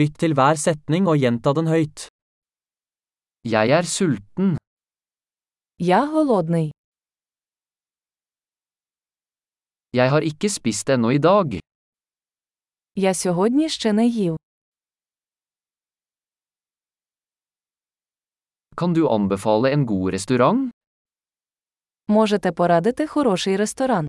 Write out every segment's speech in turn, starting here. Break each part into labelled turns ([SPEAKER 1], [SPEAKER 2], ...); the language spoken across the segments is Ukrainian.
[SPEAKER 1] Lytt til hver setning og gjenta den høyt. Jeg er sulten.
[SPEAKER 2] Я голодний.
[SPEAKER 1] Jeg har ikke spist ennå i dag.
[SPEAKER 2] Я сьогодні ще не їв.
[SPEAKER 1] Kan du anbefale en god restaurant?
[SPEAKER 2] Можете порадити хороший ресторан.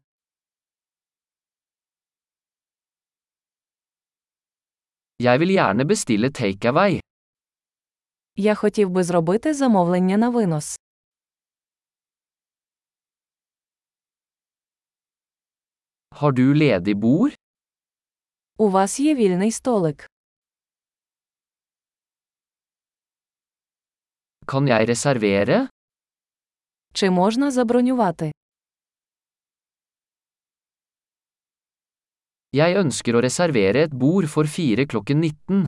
[SPEAKER 1] Jeg vil gjerne bestille takeaway.
[SPEAKER 2] Я хотів би зробити замовлення на винос.
[SPEAKER 1] Har du ledig bord?
[SPEAKER 2] У вас є вільний столик.
[SPEAKER 1] Kan jeg reservere?
[SPEAKER 2] Чи можна забронювати?
[SPEAKER 1] Jeg ønsker å reservere et bord for fire klokken 19.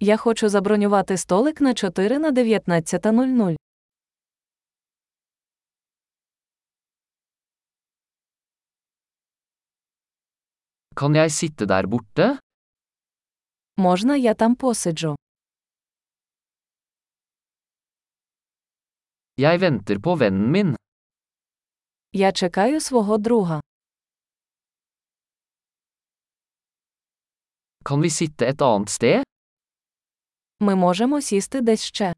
[SPEAKER 2] Я хочу забронювати столик на 4 на 19.00.
[SPEAKER 1] Kan jeg sitte der borte?
[SPEAKER 2] Можна я там посиджу?
[SPEAKER 1] Jeg venter på vennen min.
[SPEAKER 2] Я чекаю свого друга.
[SPEAKER 1] Kan vi sitte et annet sted?
[SPEAKER 2] Ми можемо сісти десь ще.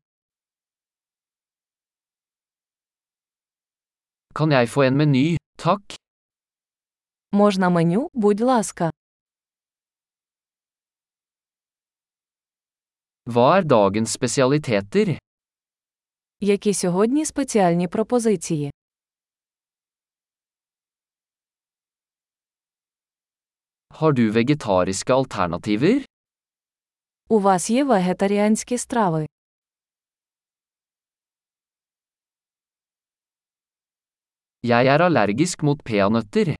[SPEAKER 1] Kan jeg få en meny? Takk.
[SPEAKER 2] Можна меню, будь ласка.
[SPEAKER 1] Hva er dagens spesialiteter?
[SPEAKER 2] Які сьогодні спеціальні пропозиції?
[SPEAKER 1] Har du vegetariske alternativer?
[SPEAKER 2] У вас є вегетаріанські страви.
[SPEAKER 1] Jeg er allergisk mot peanøtter.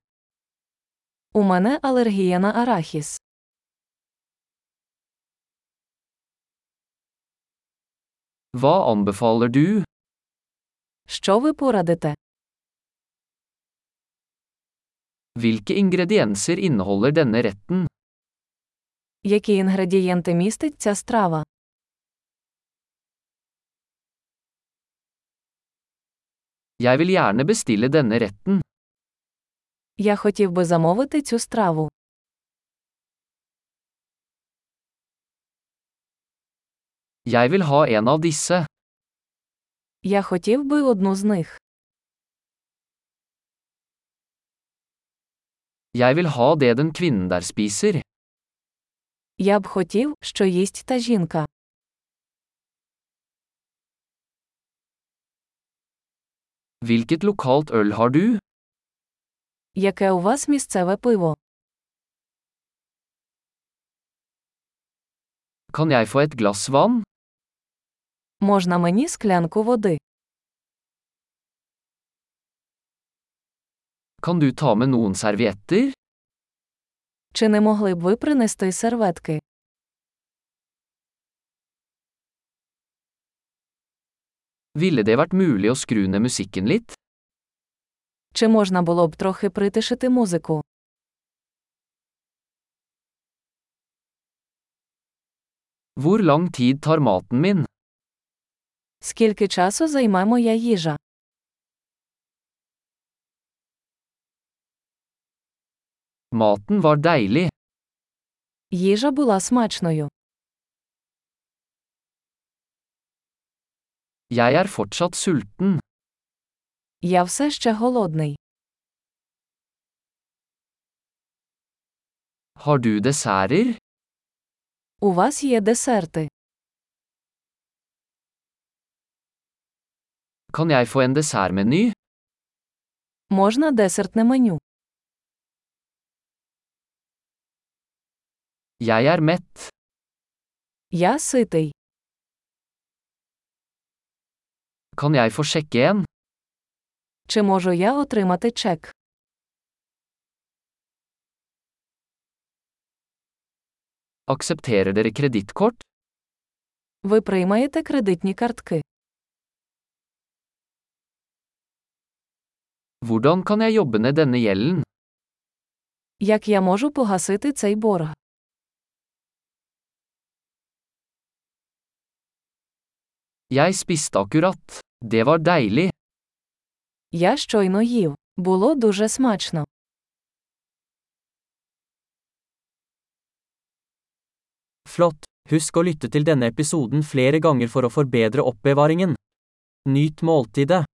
[SPEAKER 2] У мене алергія на арахіс.
[SPEAKER 1] Hva anbefaler du?
[SPEAKER 2] Що ви порадите?
[SPEAKER 1] Hvilke ingredienser inneholder denne retten?
[SPEAKER 2] Які інгредієнти містить ця страва?
[SPEAKER 1] Jeg vil gjerne bestille denne retten.
[SPEAKER 2] Я хотів би замовити цю страву.
[SPEAKER 1] Jeg vil ha en av disse.
[SPEAKER 2] Я хотів би одну з них.
[SPEAKER 1] Jeg vil ha det den kvinnen der spiser.
[SPEAKER 2] Я б хотів, що їсть та жінка.
[SPEAKER 1] Hvilket lokalt øl har du?
[SPEAKER 2] Яке у вас місцеве пиво?
[SPEAKER 1] Kan jeg få et glass vann?
[SPEAKER 2] Можна мені склянку води?
[SPEAKER 1] Kan du ta med noen servietter?
[SPEAKER 2] Чи не могли б ви принести серветки?
[SPEAKER 1] Ville det vært mulig å skru ned musikken litt?
[SPEAKER 2] Чи можна було б трохи притишити музику?
[SPEAKER 1] Hvor lang tid tar maten min?
[SPEAKER 2] Скільки часу займе моя їжа?
[SPEAKER 1] Maten var deilig.
[SPEAKER 2] Їжа була смачною.
[SPEAKER 1] Jeg er fortsatt sulten.
[SPEAKER 2] Я все ще голодний.
[SPEAKER 1] Har du desserter?
[SPEAKER 2] У вас є десерти.
[SPEAKER 1] Kan jeg få en dessertmeny?
[SPEAKER 2] Можна десертне меню.
[SPEAKER 1] Jeg er mett.
[SPEAKER 2] Я ситий.
[SPEAKER 1] Kan jeg få sjekke en?
[SPEAKER 2] Чи можу я отримати чек?
[SPEAKER 1] Aksepterer dere kredittkort?
[SPEAKER 2] Ви приймаєте кредитні картки.
[SPEAKER 1] Hvordan kan jeg jobbe ned denne gjelden?
[SPEAKER 2] Як я можу погасити цей борг?
[SPEAKER 1] Jeg spiste akkurat. Det var deilig.
[SPEAKER 2] Я щойно їв. Було дуже смачно.
[SPEAKER 1] Flott. Husk å lytte til denne episoden flere ganger for å forbedre oppbevaringen. Nyt måltidet.